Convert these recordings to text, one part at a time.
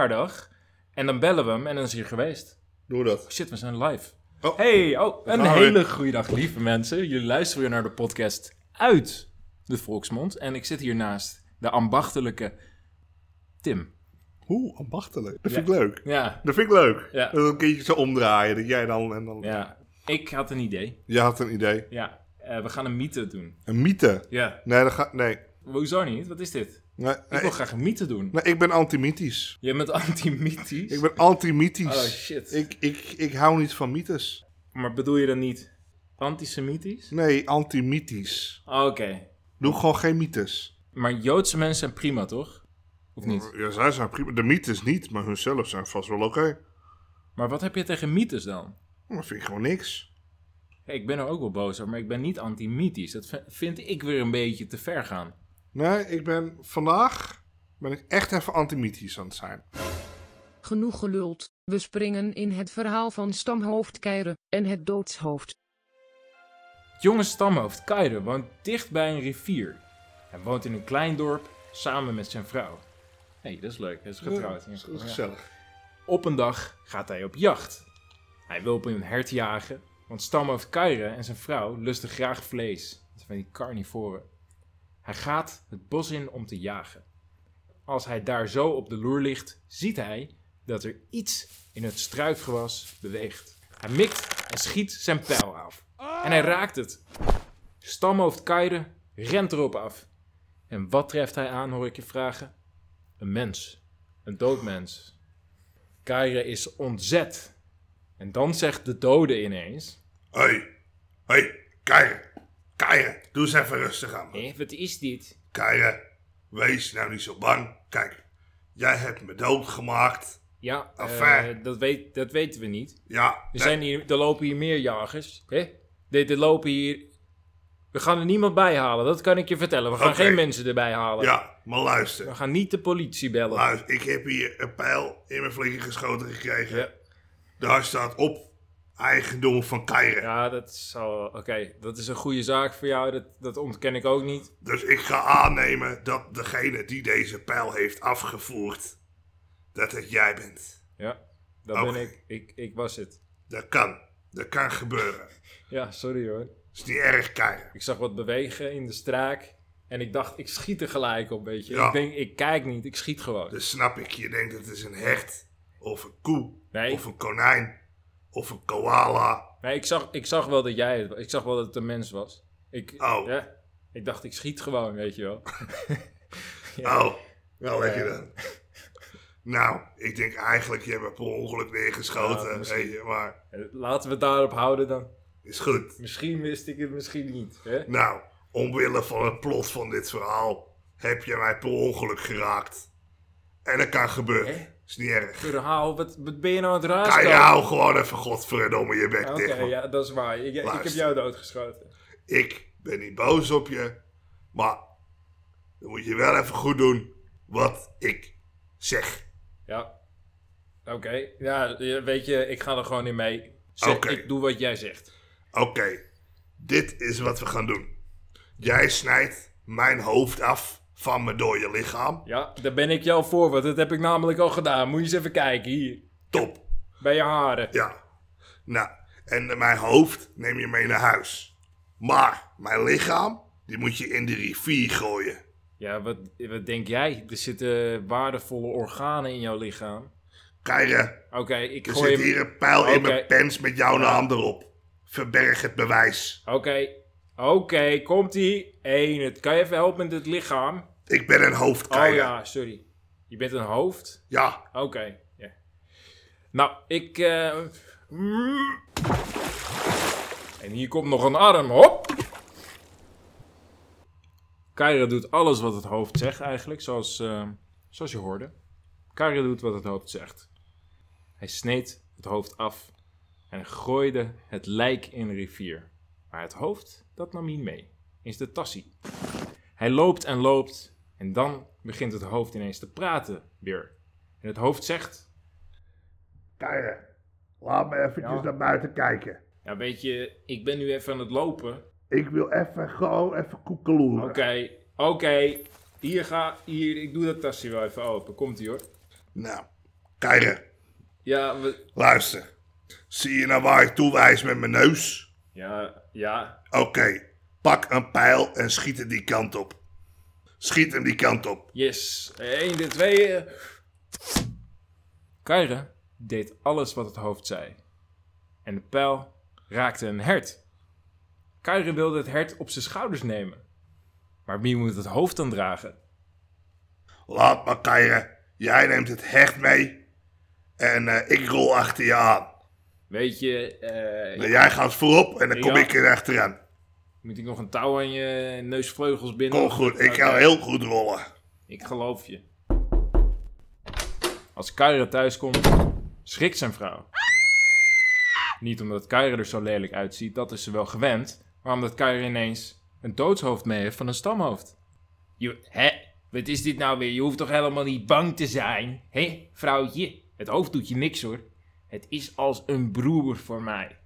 verjaardag. En dan bellen we hem en dan is hij er geweest. Doe dat. Shit, we zijn live. Oh. Hey, oh, een gaan we hele goede dag, lieve mensen. Jullie luisteren weer naar de podcast uit de Volksmond. En ik zit hier naast de ambachtelijke Tim. Hoe ambachtelijk. Dat vind ik leuk. Ja, Dat vind ik leuk. Ja. Dat we een keertje zo omdraaien. Dat jij dan... En dan... ja. Ik had een idee. Je had een idee. Ja, eh, we gaan een mythe doen. Een mythe. Ja. Nee, dat gaat... Nee. Hoezo niet? Wat is dit? Nee, Ik nee, wil graag een mythe doen. nee, ik ben antimythisch. Je bent antimythisch. Ik ben antimythisch. Oh, shit. Ik, ik, ik hou niet van mythes. Maar bedoel je dan niet antisemitisch? Nee, antimythisch. Oké. Hm. Doe gewoon geen mythes. Maar Joodse mensen zijn prima, toch? Of niet? Ja, zij zijn prima. De mythes niet, maar hunzelf zijn vast wel oké. Maar wat heb je tegen mythes dan? Dat vind ik gewoon niks. Hey, ik ben er ook wel boos over, maar ik ben niet antimythisch. Dat vi- vind ik weer een beetje te ver gaan. Nee, ik ben... Vandaag ben ik echt even antimythisch aan het zijn. Genoeg geluld, we springen in het verhaal van stamhoofd Keire en het doodshoofd. Het jonge stamhoofd Kaire woont dicht bij een rivier. Hij woont in een klein dorp samen met zijn vrouw. Hé, hey, dat is leuk. Hij is getrouwd. Ja, dat Oh, Ja. is gezellig. Op een dag gaat hij op jacht. Hij wil op een hert jagen, want stamhoofd Kaire en zijn vrouw lusten graag vlees. Dat zijn van die carnivoren. Hij gaat het bos in om te jagen. Als hij daar zo op de loer ligt, ziet hij dat er iets in het struikgewas beweegt. Hij mikt en schiet zijn pijl af. En hij raakt het. Stamhoofd Kaire rent erop af. En wat treft hij aan, hoor ik je vragen? Een mens. Een dood mens. Kaire is ontzet. En dan zegt de dode ineens... Hoi, hoi, Keire. Keire, doe eens even rustig aan me. Hé, Eh, wat is dit? Keire, wees nou niet zo bang. Kijk, jij hebt me doodgemaakt. Ja, eh, Affair. dat, weet, dat weten we niet. Ja, Er, dat- zijn hier, er lopen hier meer jagers. Hè? Er, er lopen hier... We gaan er niemand bij halen, dat kan ik je vertellen. We gaan Oké. geen mensen erbij halen. ja, maar We luister. gaan niet de politie bellen. Luister, ik heb hier een pijl in mijn flikker geschoten gekregen. Ja. Daar staat op eigendom van Keire. Ja, dat zal... Oké, dat is een goede zaak voor jou. Dat, dat ontken ik ook niet. Dus ik ga aannemen dat degene die deze pijl heeft afgevoerd, dat het jij bent. Ja, dat Oké. ben ik. ik. Ik was het. Dat kan. Dat kan gebeuren. Ja, sorry hoor. Is niet erg, Keire. Ik zag wat bewegen in de straak. En ik dacht, ik schiet er gelijk op, weet je. Ja. Ik denk, ik kijk niet, ik schiet gewoon. Dus snap ik, je denkt het is een hert, of een koe, Nee. of een konijn, of een koala. Nee, ik zag, ik zag wel dat jij het was. Ik zag wel dat het een mens was. Ik, Oh. ja, ik dacht, ik schiet gewoon, weet je wel. Oh, wel lekker dan. nou, ik denk eigenlijk, je hebt me per ongeluk Ja, neergeschoten, misschien. weet je, maar Eh, Laten we het daarop houden dan. is goed. Misschien wist ik het, misschien niet. Hè? Nou, omwille van het plot van dit verhaal, heb je mij per ongeluk geraakt. En dat kan gebeuren, Hè? is niet erg. Verhaal, wat, wat ben je nou aan het Ga razen? je hou gewoon even godverdomme je bek Oké, dicht, man. ja, dat is waar. Ik, ik heb Luister. jou doodgeschoten. Ik ben niet boos op je, maar dan moet je wel even goed doen wat ik zeg. Ja. Oké. Ja, eh, weet je, ik ga er gewoon in mee. Zeg, Oké. Ik doe wat jij zegt. Oké, dit is wat we gaan doen. Jij snijdt mijn hoofd af van mijn dode lichaam. Ja, daar ben ik jou voor, want dat heb ik namelijk al gedaan. Moet je eens even kijken, hier. Top. Bij je haren. Ja. Nou, en mijn hoofd neem je mee naar huis. Maar mijn lichaam, die moet je in de rivier gooien. Ja, wat, wat denk jij? Er zitten waardevolle organen in jouw lichaam. Kijk, Oké, ik er gooi zit hem... hier een pijl Oké. in mijn pens met jouw naam erop. Verberg het bewijs. Oké, oké, komt-ie. Eén, het kan je even helpen met het lichaam? Ik ben een Oh hoofdkeiler. ja. ja, sorry. Je bent een hoofd? Oké, ja. Nou, ik... eh, mm. En hier komt nog een arm, hop! Kyra doet alles wat het hoofd zegt eigenlijk, zoals, eh, zoals je hoorde. Kyra doet wat het hoofd zegt. Hij sneed het hoofd af en gooide het lijk in de rivier. Maar het hoofd, dat nam hij mee, is de tassie. Hij loopt en loopt en dan begint het hoofd ineens te praten weer. En het hoofd zegt, Keiler, laat me eventjes naar buiten kijken. ja weet je, ik ben nu even aan het lopen. Ik wil even gewoon even koekeloeren. Oké, oké, hier ga, hier, ik doe dat tasje wel even open. Komt ie hoor. Nou, Keire, Ja, we... luister. Zie je nou waar ik toewijs met mijn neus? Ja, ja. Oké, pak een pijl en schiet het die kant op. Schiet hem die kant op. Yes. Eén, de twee. eh. Kyra deed alles wat het hoofd zei. En de pijl raakte een hert. Kyra wilde het hert op zijn schouders nemen. Maar wie moet het hoofd dan dragen? Laat maar, Keire. Jij neemt het hecht mee. En eh, ik rol achter je aan. Weet je, eh, En jij gaat voorop en dan kom Ja. ik er achteraan. moet ik nog een touw aan je neusvleugels binden? Kom goed, ik kan Oké. heel goed rollen. Ik geloof je. Als Kyra thuiskomt, schrikt zijn vrouw. Niet omdat Kyra er zo lelijk uitziet, dat is ze wel gewend, maar omdat Kyra ineens een doodshoofd mee heeft van een stamhoofd. Je, hè? Wat is dit nou weer? Je hoeft toch helemaal niet bang te zijn? Hé, vrouwtje? Het hoofd doet je niks hoor. Het is als een broer voor mij.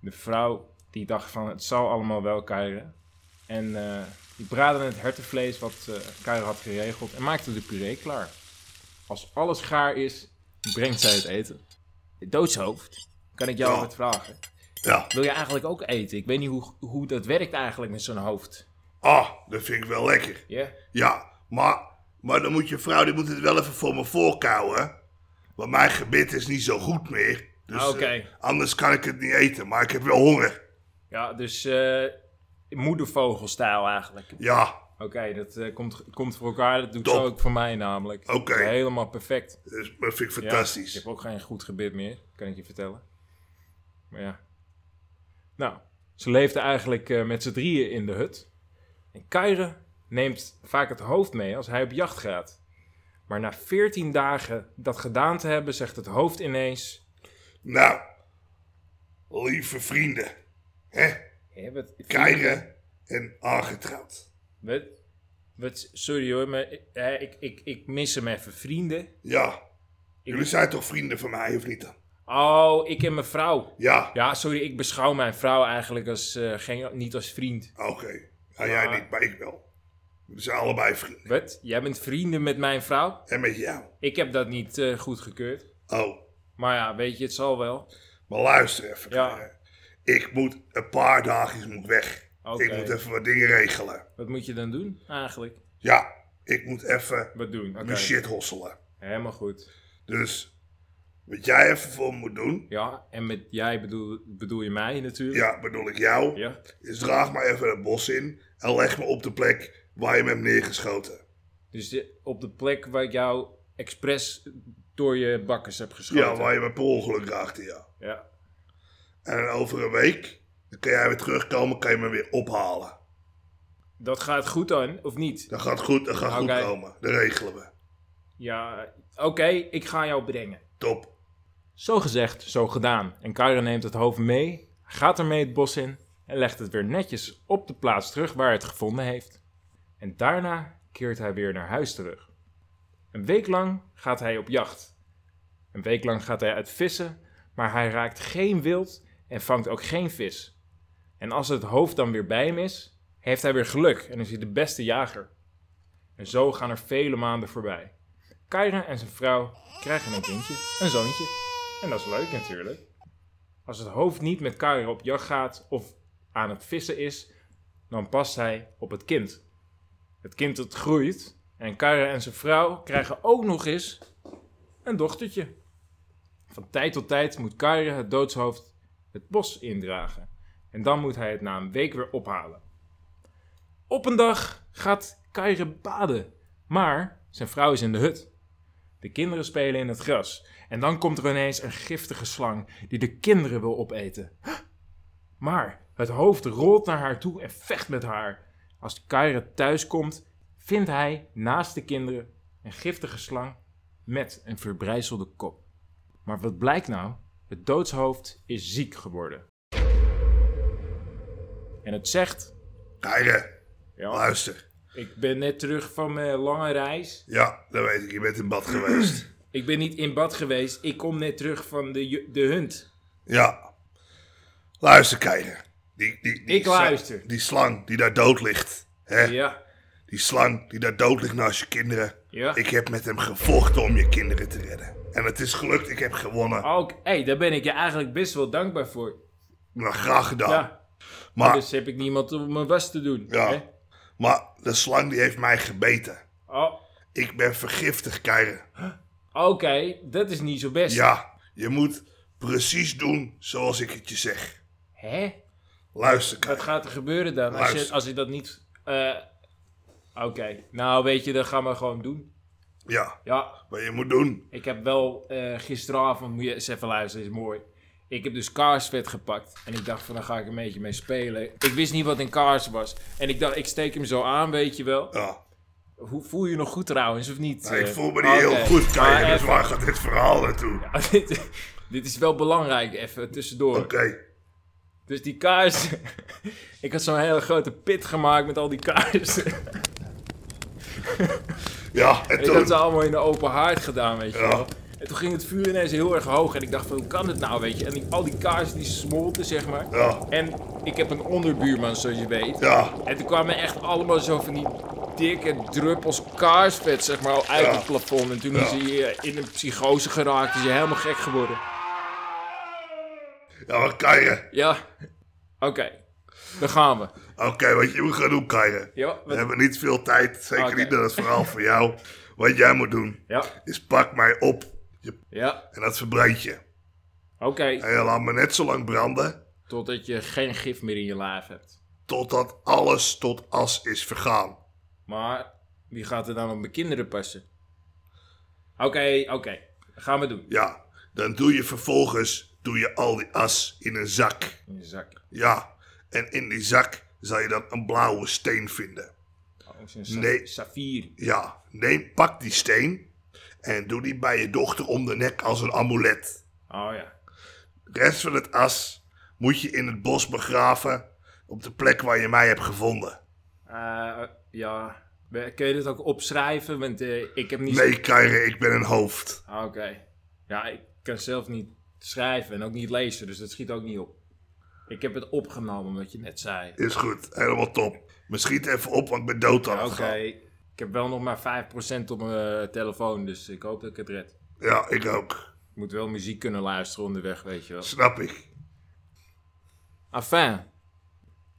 De vrouw die dacht van het zal allemaal wel Kyra, en eh, die braadde het hertenvlees wat eh Kyra had geregeld en maakte de puree klaar. Als alles gaar is, brengt zij het eten. Doodshoofd, kan ik jou Ja. wat vragen? Ja. Wil je eigenlijk ook eten? Ik weet niet hoe, hoe dat werkt eigenlijk met zo'n hoofd. Ah, dat vind ik wel lekker. Ja? Ja, maar, maar dan moet je vrouw die moet het wel even voor me voorkouwen. hè. Want mijn gebit is niet zo goed meer. Dus Ah, oké. eh, anders kan ik het niet eten, maar ik heb wel honger. Ja, dus eh moedervogelstijl eigenlijk. Ja, Oké, dat eh, komt, komt voor elkaar. Dat doet Top. zo ook voor mij namelijk. Oké. Helemaal perfect. dus dat vind ik Ja, fantastisch. ik heb ook geen goed gebit meer, kan ik je vertellen. Maar ja. Nou, ze leefden eigenlijk eh, met z'n drieën in de hut. En Kyre neemt vaak het hoofd mee als hij op jacht gaat. Maar na veertien dagen dat gedaan te hebben, zegt het hoofd ineens... Nou, lieve vrienden. Hè? "Hé, wat- Keiren en aangetrouwd. Wat, wat, sorry hoor, maar eh, ik, ik, ik mis hem even. Vrienden? Ja, jullie Ik- zijn toch vrienden van mij, of niet dan? Oh, ik en mijn vrouw. Ja, Ja, sorry, ik beschouw mijn vrouw eigenlijk als, eh, geen, niet als vriend. oké. Ja, jij Maar- niet, maar ik wel. We zijn allebei vrienden. Wat? Jij bent vrienden met mijn vrouw? En met jou. Ik heb dat niet eh goedgekeurd. Oh, Maar ja, weet je, het zal wel. Maar luister even. Ja. eh, Ik moet een paar dagjes moet weg. Oké. Ik moet even wat dingen regelen. Wat moet je dan doen eigenlijk? Ja, ik moet even Wat doen? Oké. mijn shit hosselen. Helemaal goed. Dus wat jij even voor me moet doen, Ja, en met jij bedoel, bedoel je mij natuurlijk? ja, bedoel ik jou, Ja. is draag maar even het bos in en leg me op de plek waar je me hebt neergeschoten. Dus de- op de plek waar ik jou expres door je bakkers heb Ja, geschoten? waar je me per ongeluk raakte, ja. Ja. En over een week, dan kan jij weer terugkomen, kan je me weer ophalen. Dat gaat goed dan, of niet? Dat gaat goed, dat gaat Oké. goed komen. Dat regelen we. Ja, oké, ik ga jou brengen. Top. Zo gezegd, zo gedaan. En Kyra neemt het hoofd mee, gaat ermee het bos in en legt het weer netjes op de plaats terug waar hij het gevonden heeft. En daarna keert hij weer naar huis terug. Een week lang gaat hij op jacht. Een week lang gaat hij uit vissen, maar hij raakt geen wild en vangt ook geen vis. En als het hoofd dan weer bij hem is, heeft hij weer geluk en is hij de beste jager. En zo gaan er vele maanden voorbij. Kyra en zijn vrouw krijgen een kindje, een zoontje. En dat is leuk natuurlijk. Als het hoofd niet met Kyra op jacht gaat of aan het vissen is, dan past hij op het kind. Het kind dat groeit en Kyra en zijn vrouw krijgen ook nog eens een dochtertje. Van tijd tot tijd moet Kyra het doodshoofd het bos indragen. En dan moet hij het na een week weer ophalen. Op een dag gaat Kyra baden, maar zijn vrouw is in de hut. De kinderen spelen in het gras. En dan komt er ineens een giftige slang die de kinderen wil opeten. Maar het hoofd rolt naar haar toe en vecht met haar. Als Kyra thuis komt, vindt hij naast de kinderen een giftige slang met een verbrijzelde kop. Maar wat blijkt nou? Het doodshoofd is ziek geworden. En het zegt... Keiren, Ja, luister. ik ben net terug van mijn lange reis. Ja, dat weet ik. Je bent in bad geweest. Ik ben niet in bad geweest. Ik kom net terug van de, ju- de hunt. Ja. Luister, Keijer. Die, die, die Ik sla- luister. Die slang die daar dood ligt. Hè? Ja. Die slang die daar dood ligt naast je kinderen. Ja. Ik heb met hem gevochten om je kinderen te redden. En het is gelukt, ik heb gewonnen. Ook, hey, daar ben ik je eigenlijk best wel dankbaar voor. Nou, graag gedaan. Ja, maar, dus heb ik niemand om mijn was te doen. Ah. Ja. hè? maar de slang die heeft mij gebeten. Oh, Ik ben vergiftig, Keire. Oké, dat is niet zo best. Ja, je moet precies doen zoals ik het je zeg. Hè? Luister, Wat Keire. gaat er gebeuren dan als, je, Luister. als ik dat niet... eh, Oké, nou weet je, dat gaan we gewoon doen. Ja, Ja, wat je moet doen. Ik heb wel eh, gisteravond, moet je eens even luisteren, is mooi. Ik heb dus kaarsvet gepakt. En ik dacht van, dan ga ik een beetje mee spelen. Ik wist niet wat een kaars was. En ik dacht, ik steek hem zo aan, weet je wel. Ja. Hoe, voel je je nog goed trouwens, of niet? Nou, ik Eh, voel me niet oké. heel goed, Maar Keire. Dus even- waar gaat dit verhaal naartoe? dit, dit is wel belangrijk, even tussendoor. Oké. Dus die kaars... ik had zo'n hele grote pit gemaakt met al die kaarsen. Ja, en Ik had toen... ze allemaal in de open haard gedaan, weet je Ja. wel. En toen ging het vuur ineens heel erg hoog en ik dacht van, hoe kan dit nou, weet je? En die- al die kaarsen die smolten, zeg maar. Ja. En ik heb een onderbuurman, zoals je weet. Ja, En toen kwamen echt allemaal zo van die dikke druppels kaarsvet, zeg maar, uit Ja. het plafond. En toen Ja. is hij eh, in een psychose geraakt, is hij helemaal gek geworden. ja maar Keire. Ja, oké. Dan gaan we. Oké, wat je moet gaan doen, Keire. Ja, wat- We hebben niet veel tijd. Zeker Oké. niet naar het verhaal van jou. Wat jij moet doen, Ja, is pak mij op. Je- ja, En dat verbrand je. oké. En je laat me net zo lang branden, Totdat je geen gif meer in je lijf hebt. totdat alles tot as is vergaan. Maar wie gaat er dan op mijn kinderen passen? Oké, oké. Gaan we doen. Ja, dan doe je vervolgens doe je al die as in een zak. In je zak. Ja, en in die zak zal je dan een blauwe steen vinden. Oh, het is een sa- Nee. Saffier. Ja, neem, pak die steen en doe die bij je dochter om de nek als een amulet. Oh ja. De rest van het as moet je in het bos begraven op de plek waar je mij hebt gevonden. Eh, ja. We- Kun je dit ook opschrijven? Want eh, ik heb niet. Nee, Kaire, ik ben een hoofd. Ah, Oké. Ja, ik kan zelf niet schrijven en ook niet lezen, dus dat schiet ook niet op. Ik heb het opgenomen wat je net zei. Is goed, helemaal top. Maar schiet even op, want ik ben dood aan Oké. het gaan. Ik heb wel nog maar 5% op mijn telefoon, dus ik hoop dat ik het red. Ja, ik ook. Ik moet wel muziek kunnen luisteren onderweg, weet je wel. Snap ik. Enfin,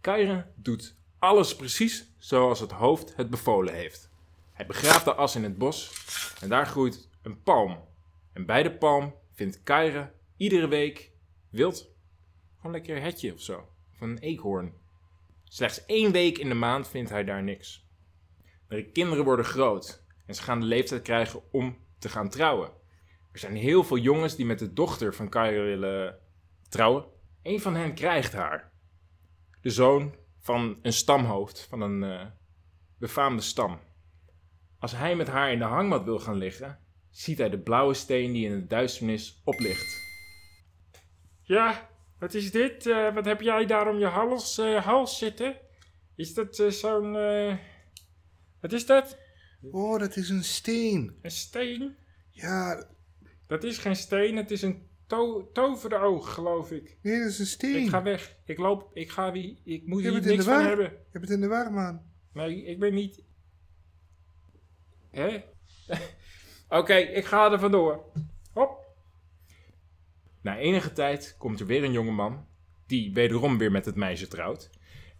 Kyra doet alles precies zoals het hoofd het bevolen heeft. Hij begraaft de as in het bos en daar groeit een palm. En bij de palm vindt Kyra iedere week wild. Gewoon lekker een hetje of zo. Van een eekhoorn. Slechts één week in de maand vindt hij daar niks. Maar de kinderen worden groot en ze gaan de leeftijd krijgen om te gaan trouwen. Er zijn heel veel jongens die met de dochter van Kyra willen trouwen. Een van hen krijgt haar. De zoon van een stamhoofd, van een eh, befaamde stam. Als hij met haar in de hangmat wil gaan liggen, ziet hij de blauwe steen die in de duisternis oplicht. Ja, wat is dit? Eh, wat heb jij daar om je hals, eh, hals zitten? Is dat eh, zo'n. wat is dat? Oh, dat is een steen. Een steen? Ja, Dat is geen steen, het is een toveroog, geloof ik. nee, dat is een steen. Ik ga weg. Ik loop. Ik ga wie. Ik moet Je hier bent in niks de van war. hebben. Je bent in de war, man. Nee, ik ben niet. Hè? Oké, ik ga er vandoor. Hop. Na enige tijd komt er weer een jongeman. Die wederom weer met het meisje trouwt.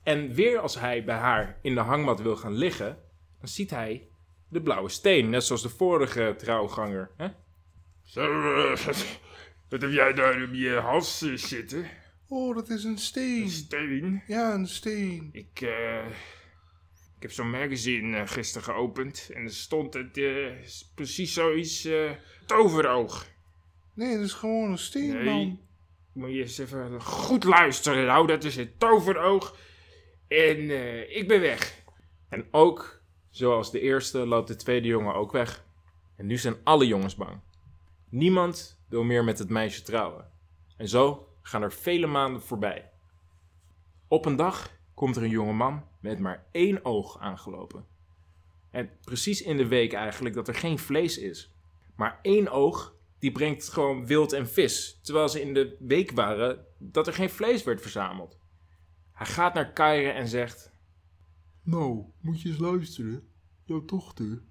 En weer als hij bij haar in de hangmat wil gaan liggen. dan ziet hij de blauwe steen. Net zoals de vorige trouwganger. Hè? eh, wat heb jij daar op je hals eh, zitten? Oh, dat is een steen. Steen. Ja, een steen. Ik, eh, ik heb zo'n magazine eh, gisteren geopend en er stond het, eh, s- precies zoiets eh, toveroog. Nee, dat is gewoon een steen, Nee. man. Moet je eens even goed luisteren, nou, dat is het toveroog. En eh, ik ben weg. En ook, zoals de eerste, loopt de tweede jongen ook weg. En nu zijn alle jongens bang. Niemand wil meer met het meisje trouwen. En zo gaan er vele maanden voorbij. Op een dag komt er een jongeman met maar één oog aangelopen. En precies in de week eigenlijk dat er geen vlees is. Maar één oog, die brengt gewoon wild en vis. Terwijl ze in de week waren dat er geen vlees werd verzameld. Hij gaat naar Kaire en zegt... Nou, moet je eens luisteren. Jouw dochter,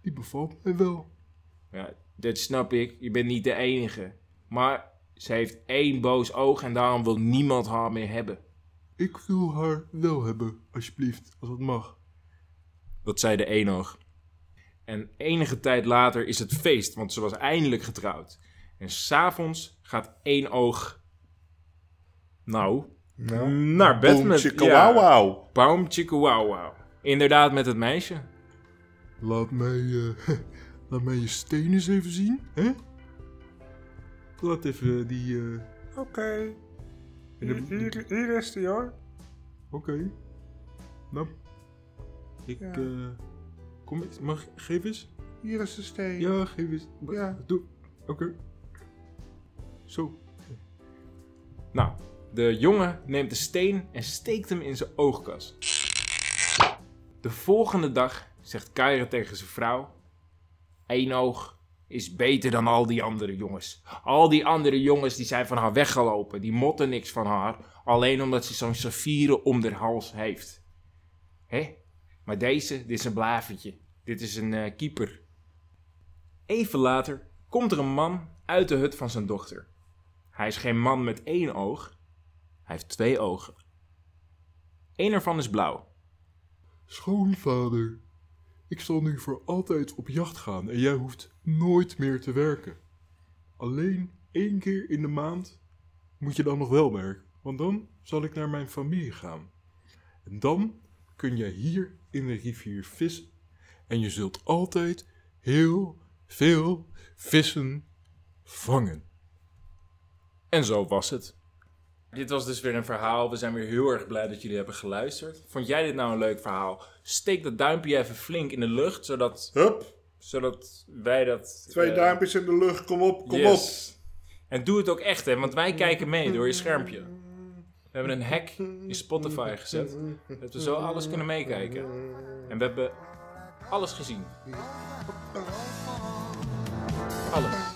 die bevalt mij wel. Ja, dat snap ik. Je bent niet de enige. Maar ze heeft één boos oog en daarom wil niemand haar meer hebben. Ik wil haar wel hebben, alsjeblieft, als dat mag. Dat zei de eenoog. En enige tijd later is het feest, want ze was eindelijk getrouwd. En s'avonds gaat één oog. Nou, Mm, naar bed Boom, met. chicka, wauw, wauw. Baum Chikawawau. Inderdaad, met het meisje. Laat mij, eh, laat mij je steen eens even zien, hè? Laat even eh, die, eh, Oké. Hier, hier, hier is die hoor. oké. Nou, ik, Ja. eh, kom eens, mag, geef eens. Hier is de steen. Ja, geef eens. Ja. Doe, oké. Zo. Nou, de jongen neemt de steen en steekt hem in zijn oogkas. De volgende dag zegt Kyra tegen zijn vrouw: Eén oog is beter dan al die andere jongens. Al die andere jongens die zijn van haar weggelopen, die motten niks van haar, alleen omdat ze zo'n saffieren om haar hals heeft. Hé, maar deze, dit is een blavertje. Dit is een eh, keeper. Even later komt er een man uit de hut van zijn dochter. Hij is geen man met één oog. Hij heeft twee ogen. Eén ervan is blauw. Schoonvader, ik zal nu voor altijd op jacht gaan en jij hoeft nooit meer te werken. Alleen één keer in de maand moet je dan nog wel werken, want dan zal ik naar mijn familie gaan. En dan kun jij hier in de rivier vissen en je zult altijd heel veel vissen vangen. En zo was het. Dit was dus weer een verhaal. We zijn weer heel erg blij dat jullie hebben geluisterd. Vond jij dit nou een leuk verhaal? Steek dat duimpje even flink in de lucht, zodat, Hup, zodat wij dat... twee eh, duimpjes in de lucht, kom op, kom op. yes. En doe het ook echt, hè, want wij kijken mee door je schermpje. We hebben een hack in Spotify gezet, dat we zo alles kunnen meekijken. En we hebben alles gezien. Alles.